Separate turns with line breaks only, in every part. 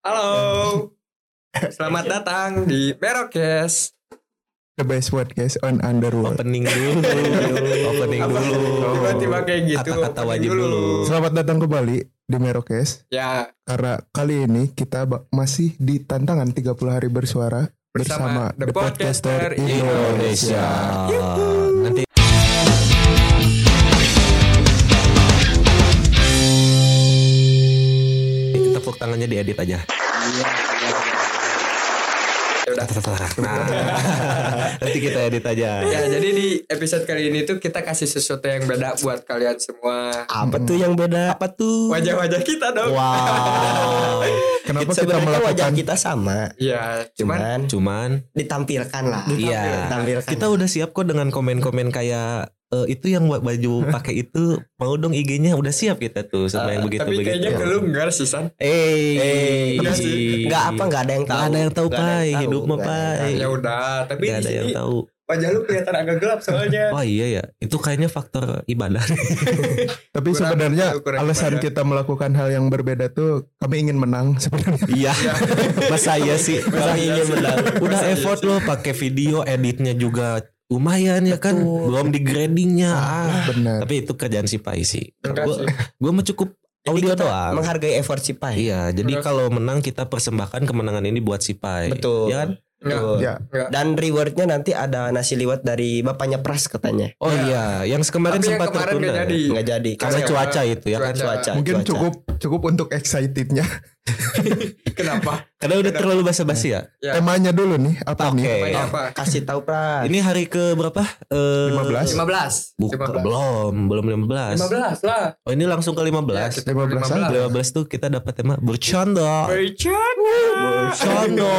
Halo. Selamat datang di Merokes.
The best podcast on Underworld.
Opening dulu. Opening
Apa?
dulu.
Tiba-tiba kayak gitu.
gitu. Kata-kata
Opening
wajib dulu.
Selamat datang kembali di Merokes.
Ya,
Karena kali ini kita ba- masih di tantangan 30 hari bersuara
Bersama
bersama,
The Podcaster
Indonesia. Nanti tepuk tangannya diedit aja.
ya udah.
Nah, nanti kita edit aja.
Ya, jadi di episode kali ini tuh kita kasih sesuatu yang beda buat kalian semua.
Apa tuh yang beda? Apa tuh?
Wajah-wajah kita dong.
Wow.
Kenapa
Kita-
kita
sebenarnya wajah
melakukan-
kita sama,
Iya, cuman
cuman
Cuman
ditampilkan lah.
Iya.
Ditampilkan.
kita udah siap kok dengan komen-komen kayak "Eh, itu yang wa- baju pakai itu mau dong IG-nya udah siap kita tuh sama yang
eh,
begitu
tapi
begitu.
kayaknya ke lu enggak sih, San.
eh,
Enggak sih.
enggak apa enggak ada yang tahu.
Nggak ada yang tahu,
Nggak ada yang
Pai.
tahu,
Hidup mah,
nggak ada yang
Pai.
tahu.
Ya udah, tapi
Gak
di
Iya. ada yang
sini
tahu.
wajah lu kelihatan agak gelap soalnya.
Oh iya ya, itu kayaknya faktor ibadah.
Tapi
Kurang-
sebenarnya
kurang
alasan
ibadah.
kita melakukan hal yang berbeda tuh kami ingin menang sebenarnya.
Iya,
Iya.
masa iya sih.
Masa
Masa
iya
iya
sih?
benar. Udah
Masa iya
effort
sih?
loh pakai video editnya juga lumayan ya kan. Belum di gradingnya.
Nah,
Ah.
Benar.
Tapi itu kerjaan si Pai sih.
Enggak
Gue
sih.
gue mah cukup
Jadi
audio
kita
doang.
Menghargai effort si Pai.
Iya, jadi
Enggak.
kalau menang kita persembahkan kemenangan ini buat si Pai.
Betul.
Ya kan?
Enggak.
Betul.
Ya,
Dan rewardnya nanti ada nasi liwet dari bapaknya Pras katanya.
Oh
Iya.
iya, yang
Tapi
kemarin
yang
sempat
kemarin
tertunda.
gak jadi.
Enggak jadi
Karena
Karena
cuaca itu ya kan.
cuaca.
cuaca.
mungkin
cuaca.
cukup cukup untuk excitednya.
Kenapa?
Karena udah terlalu basa-basi ya.
Ya.
Temanya dulu nih apa
Oke.
nih?
Main
Oh,
apa?
Kasih tahu
Iya.
Pras.
Ini hari ke berapa? Eh,
15.
15.
Bukan,
15.
belum, belum 15.
15 lah.
Oh ini langsung ke 15.
Ya, kita
15 aja.
15 tuh kita dapat tema bercanda.
Bercanda.
Bercanda.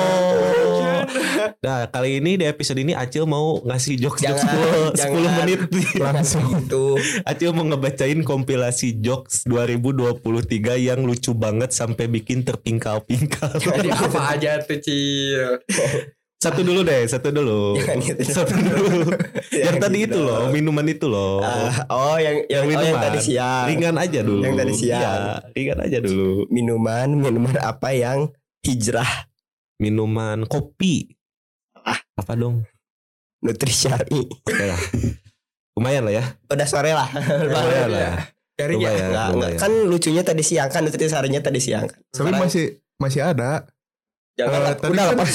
Nah, kali ini di episode ini Acil mau ngasih jokes-jokes 10,
Jangan,
10
jangan.
menit.
Langsung.
Iya.
Itu
Acil mau ngebacain kompilasi jokes 2023 yang lucu banget sampai bikin terpingkal-pingkal.
Jadi apa aja tuh Cil?
satu dulu deh, satu dulu.
Jangan gitu. Ya,
satu dulu. yang tadi itu loh, minuman itu loh.
Ah, oh yang yang, oh, yang
minuman.
tadi siang.
ringan aja dulu.
Yang tadi siang.
Iya, ringan aja dulu.
Minuman minuman apa yang hijrah
Minuman kopi.
Ah.
Apa dong?
nutrisyari.
Oke lah. Lumayan lah ya.
Udah sore lah.
Lumayan lah.
Dari ya.
Lumayan.
Nggak, nggak.
lumayan.
Kan lucunya tadi siang kan nutrisarinya tadi siang. kan.
Tapi
Sekarang-
masih masih ada. Eh,
Jangan lah,
tadi
udah lah,
kan-
Pak.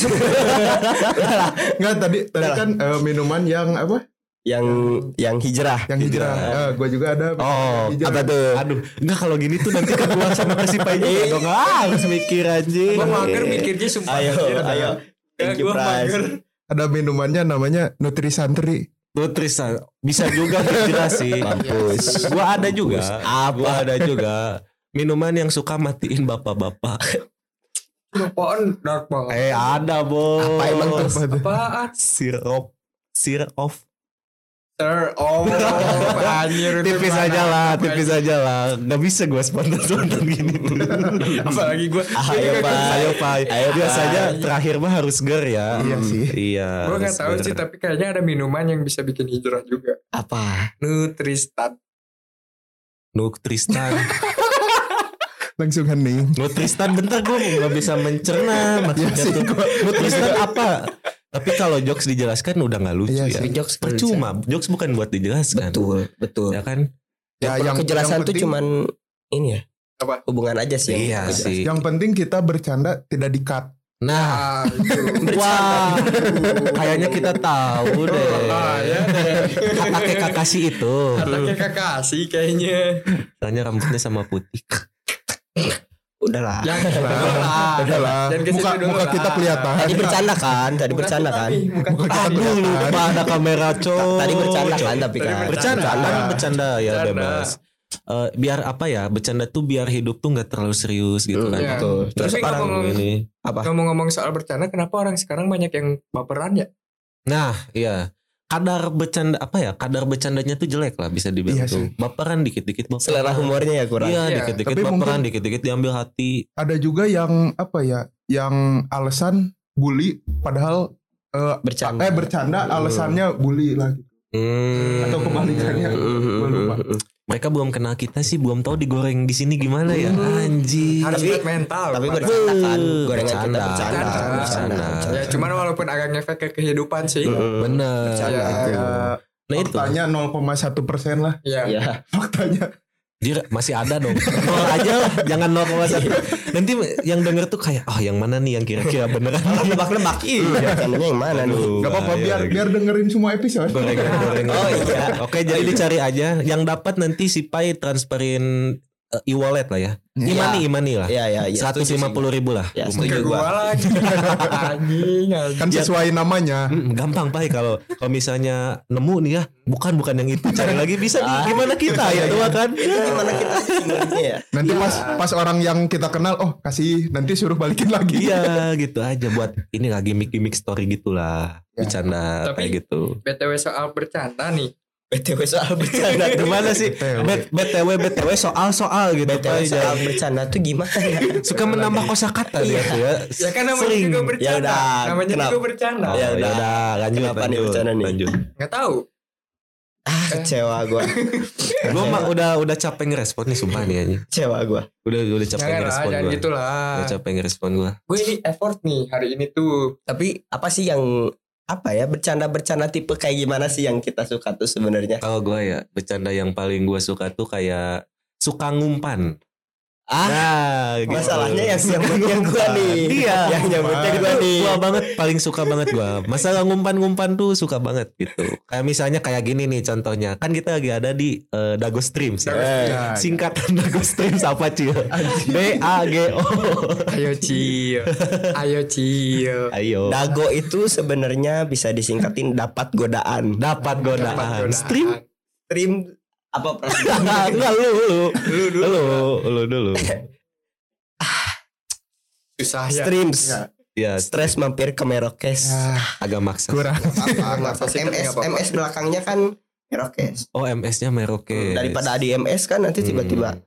Udah lah.
Enggak tadi tadi
Udah lah.
kan eh, minuman yang apa?
yang yang hijrah.
Yang hijrah. Eh, gua juga ada.
Oh,
Hijrah.
Apa tuh?
Aduh, enggak kalau gini tuh nanti keluar sama kasih Pai juga dong. Ah, harus mikir anjing.
Gue mager mikirnya sumpah.
Iya. Ayo,
Anjir.
ayo.
Ya,
Thank you,
gue
Pras.
mager.
Ada minumannya namanya Nutrisantri.
Nutrisa bisa juga hijrah sih.
Mampus.
Gua ada juga. Gua ada juga. Minuman yang suka matiin bapak-bapak.
Apaan? Dark banget.
Eh, ada, Bos.
Apa emang tuh?
Apa tuh?
Apaan?
Sirop. Sirop.
Sir. Oh. Anjir. itu
Tipis
mana?
aja lah, tipis aja lah. Gak bisa gua spontan-spontan gini tuh.
Apalagi gue.
Ayo, Pak.
Iya, kan? Ayo, Pai.
Ayo,
Biasanya
Pai.
terakhir mah harus ger ya.
Iya sih.
Iya.
Gue gak
harus
tau
ger.
sih. Tapi kayaknya ada minuman yang bisa bikin hijrah juga.
Apa?
Nutristat.
Nutristan.
Langsung hening.
Nutristan bentar gue nggak bisa mencerna maksudnya tuh. Nutristan apa? Tapi kalau jokes dijelaskan udah nggak lucu
Iya
ya.
sih.
Jokes
Percuma, jokes bukan buat dijelaskan.
Betul, betul.
Ya kan?
Ya,
yang,
yang- yang
kejelasan tuh
penting-
cuman ini ya.
Apa?
Hubungan aja Ya, sih.
Iya
yang-
sih.
Yang penting kita bercanda tidak di-cut.
Ah,
Nah,
itu.
wah, kayaknya kita tahu
Eh.
deh.
Ah, ya.
Kakaknya kakasi itu.
Anaknya kakasih kayaknya.
Soalnya rambutnya sama putih.
Udah lah.
Jangan dulu lah.
Udah lah.
Jangan ke
Muka,
situ dulu
muka
lah.
kita kelihatan.
Tadi bercanda kan? Tadi
Bukan
bercanda
kita
kan?
nih, bukan kita.
Aduh, lupa ada kamera coy.
Tadi bercanda kan tapi
Tadi
kan.
Oh. bercanda
Bercanda.
kan bercanda ya
Bercanda.
bebas Eh, biar apa ya bercanda tuh biar hidup tuh nggak terlalu serius gitu
Hmm,
kan
iya.
Betul. terus
Tapi
sekarang
ngomong-
ini
Apa?
Ngomong-ngomong soal bercanda, kenapa orang sekarang banyak yang baperan ya?
nah iya kadar bercanda apa ya kadar bercandanya tuh jelek lah bisa
Iya
dibilang tuh baperan dikit-dikit baperan
Selera humornya ya kurang.
Iya.
iya dikit-dikit
Tapi
baperan
mungkin-
dikit-dikit diambil hati
Ada juga yang apa ya? Yang alasan bully padahal eh,
Bercanda.
eh bercanda alasannya bully lagi
Hmm.
atau kebalikannya.
Mm, mm,
Gua lupa.
mm, mm.
mereka belum kenal kita sih belum tahu digoreng di sini gimana ya anjing
Harus
Tapi-
kuat mental.
tapi
padahal.
bercanda kan
Wuh,
gorengan
bercanda,
kita
bercanda,
bercanda bercanda,
bercanda.
Ya cuman walaupun agak ngefek ke kehidupan sih.
bener
Bercanda.
Ya,
nah itu
faktanya 0,1 persen lah
Iya.
ya
faktanya.
Dia masih ada dong. Nol aja lah, jangan nol koma satu. Nanti yang denger tuh kayak, oh yang mana nih yang kira-kira beneran?
nebak-nebak iya bercandanya yang mana nih
Aduh,
Gak apa-apa
iya
bahaya
biar
lagi.
biar dengerin semua episode.
Gorengan-gorengan.
Oh, iya.
Oke, jadi dicari aja. Yang dapat nanti si Pai transferin eh, e-wallet lah ya.
Iya.
Imani, imani lah.
ya ya ya
Seratus lima puluh ribu lah.
Ya,
Ke
Lumayan.
gua lagi. Anjing. anjing.
Iya.
Kan sesuai namanya.
Mm, gampang Pai kalau kalau misalnya nemu nih ya, bukan bukan yang itu. Cari lagi bisa di
Ah.
gimana kita
Iya,
ya tua kan?
gimana kita sebenarnya ya
Nanti
Iya.
pas pas orang yang kita kenal, oh kasih nanti suruh balikin lagi.
Iya gitu aja buat ini lagi gimmick-gimmick story gitulah
Ya.
bercanda
Tapi-
kayak gitu.
BTW soal bercanda nih.
btw soal bercanda
Nah, gimana sih?
BTW.
Bet- BTW BTW soal soal gitu.
btw
Pak.
soal
Jangan-
bercanda tuh gimana
Suka menambah kosakata dia tuh ya.
Ya kan namanya
Sering.
juga
Ya
bercanda.
udah,
namanya
kenapa?
juga bercanda.
Oh,
Ya
ya
udah.
udah lanjut
Kenapa nih
lanjut,
bercanda nih?
lanjut.
Nggak tahu.
ah kecewa gua
Gua mah udah udah capek ngerespon nih sumpah nih anjing.
kecewa gua
Udah udah
Jangan
capek
lah,
ngerespon
jangan
gua.
gitu lah.
Udah capek ngerespon gua.
Gue ini effort nih hari ini tuh.
tapi apa sih yang apa ya bercanda-bercanda tipe kayak gimana sih yang kita suka tuh sebenarnya
Kalau gua ya bercanda yang paling gua suka tuh kayak suka ngumpan.
ah
Nah, gitu.
masalahnya yang yang yang gua nih
Iya.
yang nyamuknya gua nih
Gua banget paling suka banget gua. Masalah ngumpan-ngumpan tuh suka banget gitu. Kayak misalnya kayak gini nih contohnya. Kan kita lagi ada di eh, Dago Streams ya.
Dago-
eh,
Ya,
Singkatan Dago Streams apa Cil? D A G O.
Ayo Cil. Ayo Cil.
Ayo.
dago itu sebenarnya bisa disingkatin dapat godaan
dapat
Dapat godaan.
godaan. Stream.
trim apa prasangka
Enggak lu lu.
Lu dulu.
Lu lu dulu.
Susah ya.
streams
Ya,
Eh, stres mampir ke merokes
Ya, Ah,
agak maksa.
kurang.
Apa, apa,
Pasti nggak
ms
apa-apa.
ms belakangnya kan merokes
Oh, MS-nya Merauke.
Hmm,
Hmm.
daripada ada ms kan nanti tiba-tiba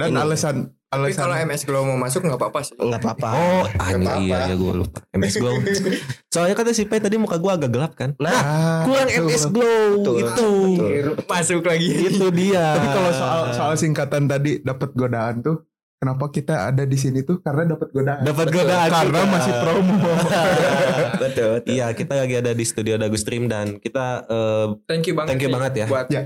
Dan
Ini.
alasan
Tapi kalau
alasan
MS Glow mau masuk nggak apa-apa sih.
nggak apa-apa
Oh, anjing
apa-apa.
iya ya gue lupa. MS Glow. Soalnya kata si Pai tadi muka gua agak gelap kan.
nah
Ah,
kurang
betul,
MS
betul.
Glow
Betul.
itu
betul.
Masuk lagi.
itu dia
Tapi kalau soal soal singkatan tadi dapat godaan tuh, kenapa kita ada di sini tuh karena dapat godaan.
dapat
Betul.
godaan
karena
juga.
masih promo.
betul, betul.
iya kita lagi ada di studio Dagu Stream dan kita eh,
Thank you banget.
Thank you
sih
banget ya.
Buat
Ya.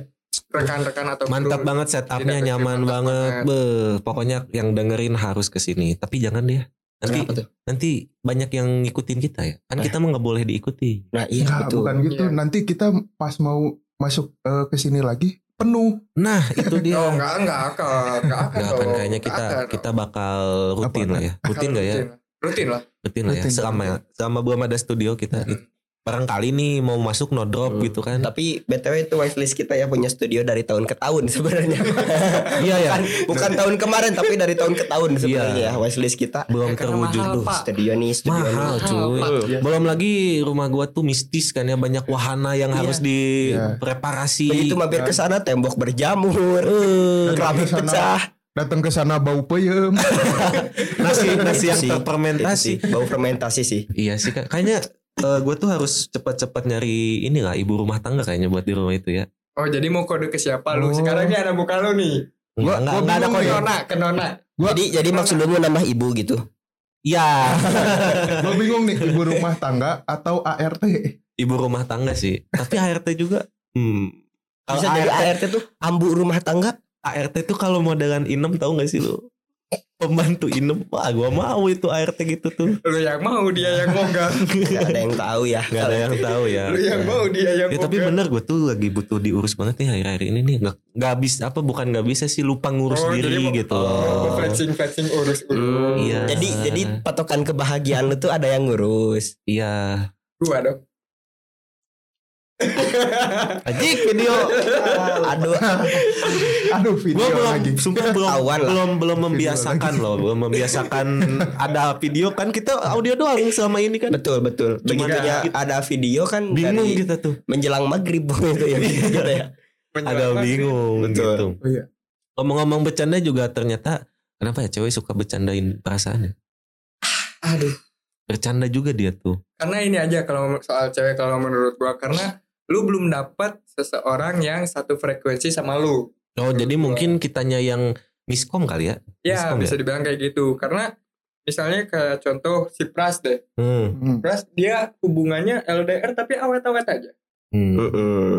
rekan-rekan atau
mantap
kru.
banget setupnya
Tidak,
nyaman
mantap
banget be pokoknya yang dengerin harus kesini tapi jangan deh nanti
Kenapa tuh? Eh.
nanti banyak yang ngikutin kita ya kan kita mah nggak boleh diikuti
nah iya
Enggak,
betul
bukan gitu.
Iya.
Nanti kita pas mau masuk eh, ke sini lagi penuh.
nah itu dia
Oh enggak enggak akan enggak akan.
nggak akan
dong.
kayaknya
Nggak
kita
akan.
kita bakal rutin
Apa?
lah ya rutin nggak ya
Rutin lah.
rutin lah ya
Rutin.
selama selama belum ada studio kita barangkali nih mau masuk no drop
Hmm.
gitu kan
Tapi BTW itu wishlist kita ya punya studio dari tahun ke tahun sebenarnya.
iya ya
bukan, bukan tahun kemarin tapi dari tahun ke tahun
Iya.
sebenarnya ya wishlist kita.
Ya,
belum
karena
terwujud
mahal,
duh
Pak.
Studio nih, studio
mahal
nih.
cuy
Mahal,
Iya.
belum lagi rumah gua tuh mistis kan ya banyak wahana yang
Iya.
harus dipreparasi
Begitu Nah, mampir ke sana tembok berjamur,
Eh,
keramik
Ke sana.
pecah,
Datang ke sana bau peyem.
nasi nasi yang
Itu sih, itu
terfermentasi
sih, bau fermentasi sih.
iya sih Kak. kayaknya gue tuh harus cepat-cepat nyari inilah ibu rumah tangga kayaknya buat di rumah itu ya
Oh jadi mau kode ke siapa lu?
Oh.
Sekarang ini ada muka lu nih.
Gua-
Enggak, enggak,
gua
enggak ada
bingung
kode
ya.
Nona, ke Nona.
Gua-
Jadi jadi maksud lu mau nambah ibu gitu.
Iya
Gue bingung nih ibu rumah tangga atau ART.
ibu rumah tangga sih tapi ART juga hmm. Kalau
Bisa jadi
ART,
ART tuh ambu rumah tangga.
ART tuh kalau modelan inem tahu gak sih lu pembantu inem wah gue mau itu ART gitu tuh
Lu yang mau dia yang mau enggak.
Gak ada yang tahu ya.
nggak ada yang tahu ya
Lu yang mau dia yang
Ya
mau.
tapi
enggak.
bener gue tuh lagi butuh diurus banget nih akhir-akhir ini nih nggak nggak bisa apa bukan nggak bisa sih lupa ngurus
Oh,
diri
jadi mau-
gitu.
Mau
loh.
flexing flexing urus urus.
Hmm,
Iya.
Jadi jadi patokan kebahagiaan lu tuh ada yang ngurus.
Iya.
Gua dong.
Ajik video.
Aduh,
Aduh
Gue
video
belum
lagi.
sumpah belum
Ketahuan lah.
belum belum
Video
membiasakan loh, belum membiasakan ada video kan kita audio doang selama ini kan.
betul betul.
Cuman
Begitu
ya-
ya ada video kan
Bingung gitu.
dari
kita tuh.
menjelang maghrib gitu ya, gitu ya.
Agak bingung
Betul.
gitu.
Oh, iya.
Ngomong-ngomong bercanda juga ternyata kenapa ya cewek suka bercandain perasaannya?
Aduh.
Bercanda juga dia tuh.
Karena ini aja kalau soal cewek kalau menurut gua karena lu belum dapat seseorang yang satu frekuensi sama lu.
Oh jadi mungkin kitanya yang miskom kali ya?
Ya
Miskom ya?
bisa dibilang kayak gitu karena misalnya kayak contoh si Pras deh.
Hmm.
Hmm.
Pras dia hubungannya LDR tapi awet-awet aja.
Hmm.
Mm-mm.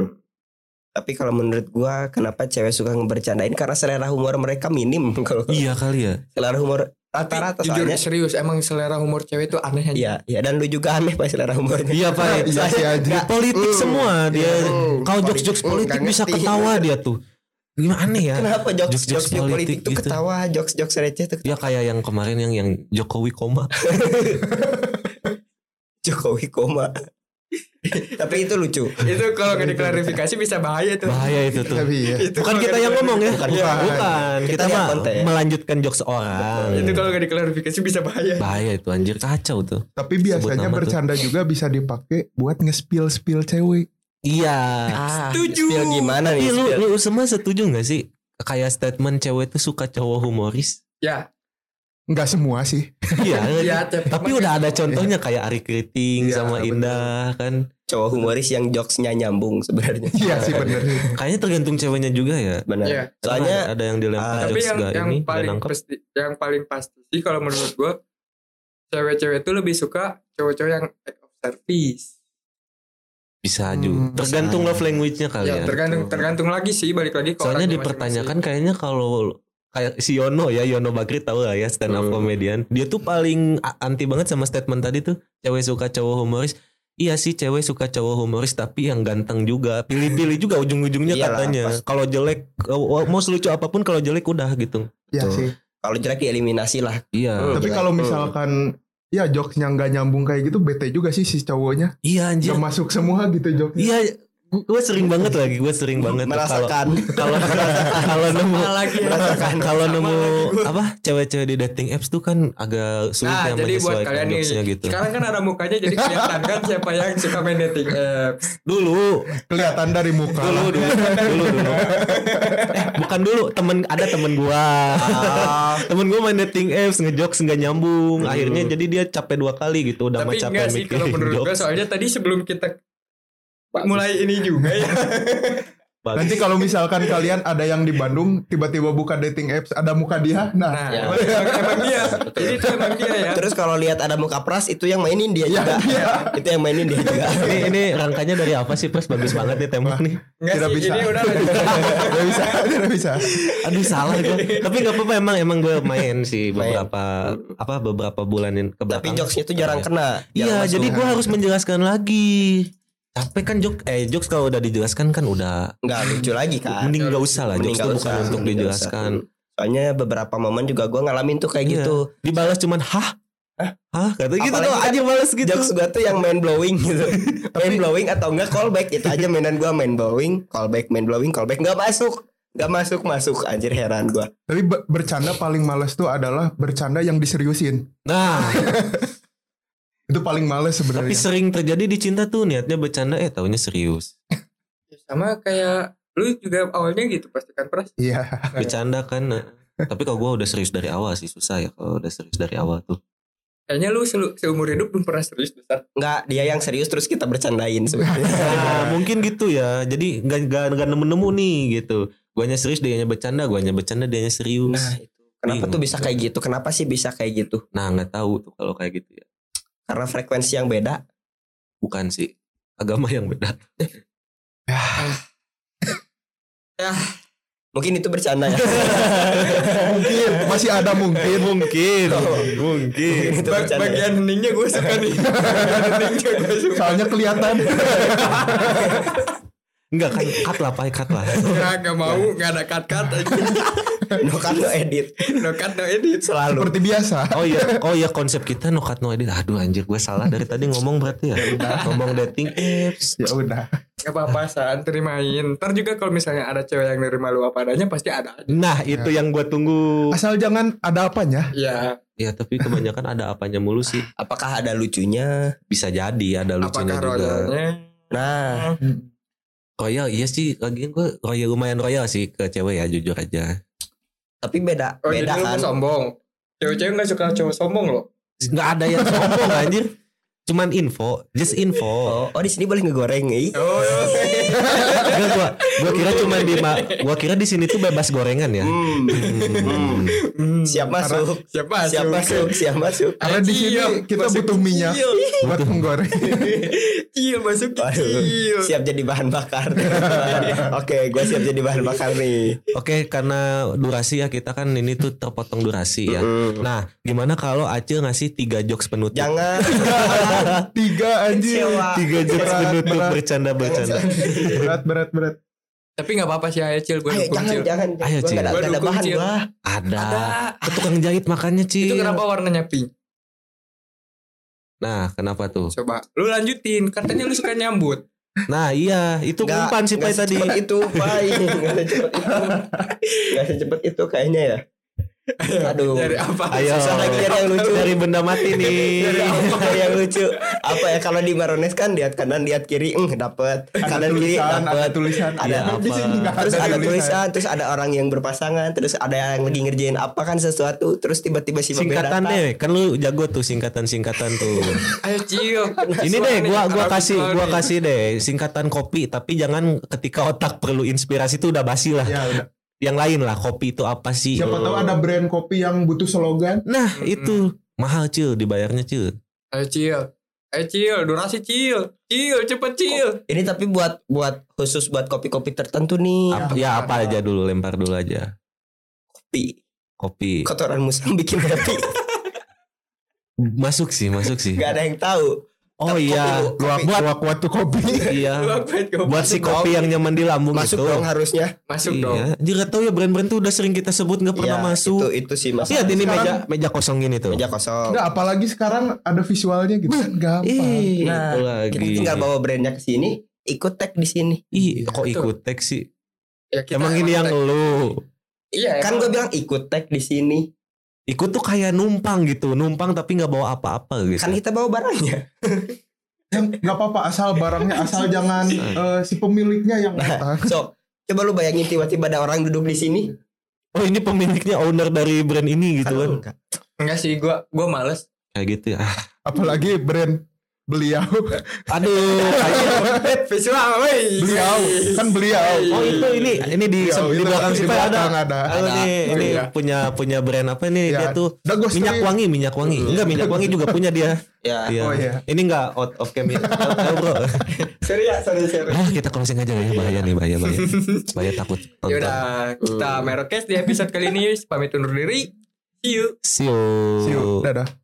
Tapi kalau menurut gua kenapa cewek suka ngebercandain karena selera humor mereka minim kalau
Iya kali ya.
selera humor rata-rata
Jujur
soalnya.
serius emang selera humor cewek itu aneh aja.
Iya, iya dan lu juga aneh pak selera humornya.
Iya pak.
Iya sih aja.
Politik
Hmm.
semua dia.
Iya,
Hmm.
Kalau jokes-jokes
Hmm,
politik
nggak
bisa
ngerti.
ketawa dia tuh. Gimana aneh ya?
Kenapa jokes
Jokes-jokes
jokes politik,
politik
tuh
gitu.
ketawa, jokes jokes receh tuh
Dia Ya kayak yang kemarin yang yang Jokowi koma.
Jokowi koma. Tapi itu lucu.
Itu kalau nggak diklarifikasi bisa bahaya tuh.
Bahaya itu tuh.
Tapi ya.
Itu
Bukan
kalau
kita
nggak
yang ngomong ya.
Bukan,
Bukan.
bukan.
Bukan. Kita
Kita lihat
mah
konteks.
melanjutkan jokes orang.
Itu kalau nggak diklarifikasi bisa bahaya.
Bahaya itu anjir kacau tuh.
Tapi
Sebut
biasanya
nama tuh.
bercanda juga bisa dipakai buat nge-spill spill cewek.
Iya.
Ah,
Setuju.
spill gimana nih?
Tapi Iya, lu,
spill?
lu semua setuju gak sih? Kayak statement cewek tuh suka cowok humoris.
Ya,
Enggak semua sih.
Iya. nggak
ya,
sih? Tapi udah ada
Iya.
contohnya kayak Ari Kriting
Iya,
sama
bener.
Indah kan.
Cowok humoris yang jokesnya nyambung sebenarnya.
Iya sih bener.
Kayaknya tergantung ceweknya juga ya.
Benar.
Iya.
Soalnya
Karena ada yang dilempar
Ah,
tapi
jokes
yang yang
gak Nah, ini, gak
paling
nangkep.
pasti yang paling pasti sih kalau menurut gua cewek-cewek tuh lebih suka cowok-cowok yang act of service
bisa
Hmm,
juga. Tergantung
bisa.
love language-nya kali ya.
ya, tergantung
Betul.
tergantung lagi sih balik lagi ke
Soalnya
orangnya
dipertanyakan kayaknya kalau kayak si Yono ya Yono Bakri tahu lah ya stand up
Hmm.
comedian. Dia tuh paling a- anti banget sama statement tadi tuh cewek suka cowok humoris. Iya sih cewek suka cowok humoris tapi yang ganteng juga. Pilih-pilih juga ujung-ujungnya
Iyalah,
katanya.
pas-
Kalau jelek eh, mau selucu apapun kalau jelek udah gitu.
Iya
Betul.
sih.
kalau jelek dieliminasi lah.
Iya.
Hmm.
Tapi
Jelek.
kalau misalkan ya jokesnya nggak nyambung kayak gitu bete juga sih si cowoknya.
Iya anjir.
Nggak masuk semua gitu jokesnya.
Iya gue sering banget lagi gue sering banget tuh kalau Iya.
Merasakan.
kalau kalau nemu
Sama lagi ya.
Merasakan. kalau
Sama
nemu
lagi gua.
apa cewek-cewek di dating apps tuh kan agak sulit
nah
yang
jadi buat
menyesuaikan
kalian nih
jokesnya gitu
sekarang kan ada mukanya jadi kelihatan kan siapa yang suka main dating eh, apps
dulu
Kelihatan dari muka.
dulu dulu dulu dulu eh bukan dulu temen ada temen gua
Ah.
temen gua main dating apps ngejokes nggak nyambung akhirnya jadi dia capek dua kali gitu udah mah
tapi
capek
enggak sih kalau
mikirin
menurut gua
jokes
soalnya tadi sebelum kita mulai ini juga ya
Bagus.
Nanti kalau misalkan kalian ada yang di Bandung tiba-tiba buka dating apps ada muka dia, nah,
nah
Ya.
emang,
Iya,
emang- emang dia jadi itu emang dia ya
Terus kalau lihat ada muka pras itu yang mainin
Iya,
dia juga. itu yang mainin dia juga.
ini, ini rangkanya dari apa sih Pras bagus banget nih tembok nih
enggak
Tidak
Iya sih
bisa.
ini udah lanjut.
tidak bisa, tidak bisa.
aduh salah gua tapi nggak apa-apa emang emang gue main sih beberapa apa beberapa bulan yang ke
Tapi
belakang.
jokesnya tuh jarang kena.
Iya,
Jarang
jadi
masuk.
gue harus menjelaskan lagi. Capek kan jok, eh jokes kalau udah dijelaskan kan udah
nggak lucu lagi kan.
mending gak usah lah jokes
Mending nggak
tuh
usah,
bukan untuk
mending nggak
dijelaskan.
usah. Soalnya beberapa momen juga gue ngalamin tuh kayak
Iya.
gitu.
Dibalas cuman hah, hah, kata gitu
Apalagi
tuh
kan
aja balas gitu.
Jokes gue tuh yang main blowing gitu. main blowing atau enggak callback itu aja mainan gue main blowing, callback, main blowing, callback nggak masuk. Nggak masuk masuk anjir heran gue.
Tapi be- bercanda paling males tuh adalah bercanda yang diseriusin.
Nah,
Iya.
Itu paling males
tapi
sebenarnya.
sering terjadi di cinta tuh niatnya bercanda eh taunya serius.
sama kayak lu juga awalnya gitu pasti kan pras
Iya.
Bercanda kan. eh. Tapi kalau gue udah serius dari awal sih susah ya kalau udah serius dari awal tuh.
kayaknya lu selu- seumur hidup belum pernah serius besar
Enggak, dia yang serius terus kita bercandain sebenarnya.
Nah, mungkin gitu ya. Jadi gak, gak, gak nemu-nemu nih gitu. Guanya serius, dianya bercanda, guanya bercanda, dianya serius.
Nah, itu. Kenapa tuh bisa kayak gitu? Kenapa sih bisa kayak gitu?
Nah, nggak tahu tuh kalau kayak gitu ya.
Karena frekuensi yang beda.
bukan sih agama yang beda
Mungkin itu bercanda ya.
mungkin masih ada mungkin. Oh.
mungkin
Mungkin
mungkin
itu
Ba-
bercanda. ya.
bagian heningnya gue suka nih bagian heningnya gue suka
Soalnya kelihatan.
enggak kan cut lah pak cut lah
Nggak, nggak mau
Iya.
nggak ada cut cut
no cut, no edit
no cut no edit
selalu.
Seperti biasa.
oh iya oh iya konsep kita no cut no edit aduh anjir gue salah dari tadi ngomong berarti ya ngomong dating apps
Ya udah.
nggak apa apa saan terimain ntar juga kalau misalnya ada cewek yang nerima lu apa adanya pasti ada aja.
nah itu yang gue tunggu
Asal jangan ada apanya.
ya
ya tapi kebanyakan ada apanya mulu sih
Apakah ada lucunya?
bisa jadi ada lucunya
apakah
juga
royalnya
Nah,
royal iya sih lagian gue royal lumayan royal sih ke cewek ya jujur aja
tapi beda
oh
beda
jadi lu
kan.
nggak sombong cewek-cewek nggak suka cowok sombong loh
nggak ada yang sombong anjir cuman info just info
Oh, oh di sini boleh ngegoreng, ih.
oh
Enggak gua Gua kira cuma di ma- gua kira di sini tuh bebas gorengan ya.
Hmm. Hmm.
Hmm.
Siap masuk.
Siapa?
Siap masuk, siap masuk. Iya,
Karena di sini
Iya,
kita
masuk
butuh minyak
kecil.
buat menggoreng.
Kecil masuk
Waduh,
kecil.
iya, siap jadi bahan bakar. Oke, gua siap jadi bahan bakar nih.
Oke, karena durasi ya kita kan ini tuh terpotong durasi ya.
Mm.
Nah, gimana kalau Acil ngasih tiga jokes penutup?
Jangan
Tiga anjir.
Kecewa.
tiga jokes
Berat,
penutup
berat.
bercanda bercanda.
Berat berat berat.
Tapi nggak apa-apa sih Acil, gue
Ayo,
dukung
jangan,
Cil.
jangan.
Ayo,
Gua
Cil.
nggak ada, nggak ada
Gua
bahan
dukung, Cil.
gua.
Ada.
Ada.
Ke tukang jahit makannya Cil.
Itu kenapa warnanya pink?
Nah, kenapa tuh?
Coba lu lanjutin, katanya lu suka nyambut.
Nah, iya, itu
Nggak-
umpan sih Pai
nggak
tadi.
secepat itu, Pai. Nggak secepat itu. Nggak secepat itu kayaknya ya. Aduh.
Dari apa?
Ayo.
Susah lagi nyari yang lucu.
Dari benda mati nih.
Iya, nyari yang lucu. Apa ya kalau di Marones kan lihat kanan, lihat kiri, eh dapat.
Ada
Kanan kiri
tulisan, ada
dapat.
tulisan.
Ada
Tapi di
apa?
sini nggak
Terus ada tulisan, terus ada orang yang berpasangan, terus ada yang lagi ngerjain apa kan sesuatu, terus tiba-tiba si Babe
Singkatan
datang.
deh, kan lu jago tuh singkatan-singkatan tuh.
Ayo Cil.
Ini deh gua gua
Arabik
kasih
soal
gua
nih.
kasih deh singkatan kopi tapi jangan ketika otak perlu inspirasi itu udah basi lah.
Iya.
Ya udah.
Yang lain lah kopi itu apa sih?
Siapa tahu ada brand kopi yang butuh slogan.
Nah,
Mm-mm.
itu mahal Cil dibayarnya Cil.
Ayo Cil. Ayo Cil, durasi Cil. Cil, cepet Cil.
Ini tapi buat buat khusus buat kopi-kopi tertentu nih.
Apa- ya apa aja dulu lempar dulu aja.
Kopi.
Kopi.
Kotoran musang bikin kopi.
Masuk sih, masuk sih.
Gak ada yang tahu.
Oh
Kopi
iya,
dulu,
buat
kopi.
buat
Buat waktu kopi.
iya.
Buat
Buat si kopi yang nyaman di lambung
Masuk
itu.
dong harusnya.
Masuk
iya.
dong.
Dia nggak tahu ya brand-brand tuh udah sering kita sebut nggak pernah
Iya,
masuk. Iya,
Itu itu sih mas.
Lihat ini meja
Sekarang-
meja kosong ini tuh.
Meja kosong.
Enggak, apalagi sekarang ada visualnya gitu kan gampang.
Ih,
Nah,
itu lagi.
Kita tinggal bawa brandnya ke sini, ikut tag di sini.
Ih, kok
Betul.
ikut teks sih?
Ya, kita
Emang ini yang
tag-
lu.
Iya,
Kan gue bilang ikut tag di sini.
Ikut tuh kayak numpang gitu, numpang tapi nggak bawa apa-apa gitu.
Kan kita bawa barangnya.
Yang nggak apa-apa asal barangnya asal jangan eh, si pemiliknya yang
Nah,
datang.
so coba lu bayangin tiba-tiba ada orang duduk di sini.
Oh ini pemiliknya owner dari brand ini gitu kan?
Kan
enggak sih gua gua males.
Kayak gitu ya. Ah,
Apalagi brand beliau,
Aduh. kayak-
Visual, weh.
beliau kan beliau.
oh itu ini ini di,
Beliau, Ya,
di
itu
belakang
di
sih Pak, ada.
belakang ada.
Oh, ini,
Ada.
ini
Iya.
punya punya brand apa nih
Iya.
dia tuh
Udah gue
minyak
sering-
wangi minyak wangi enggak minyak wangi juga punya dia
Ya.
Iya.
Oh, iya.
ini enggak out of cam ya Out- out, bro
Sorry ya, sorry sorry.
Ah, kita closing aja ya bahaya nih bahaya bahaya bahaya takut
Ya
nonton.
udah, kita merokes di episode kali ini pamit undur diri. See you.
see you,
See you. Dadah.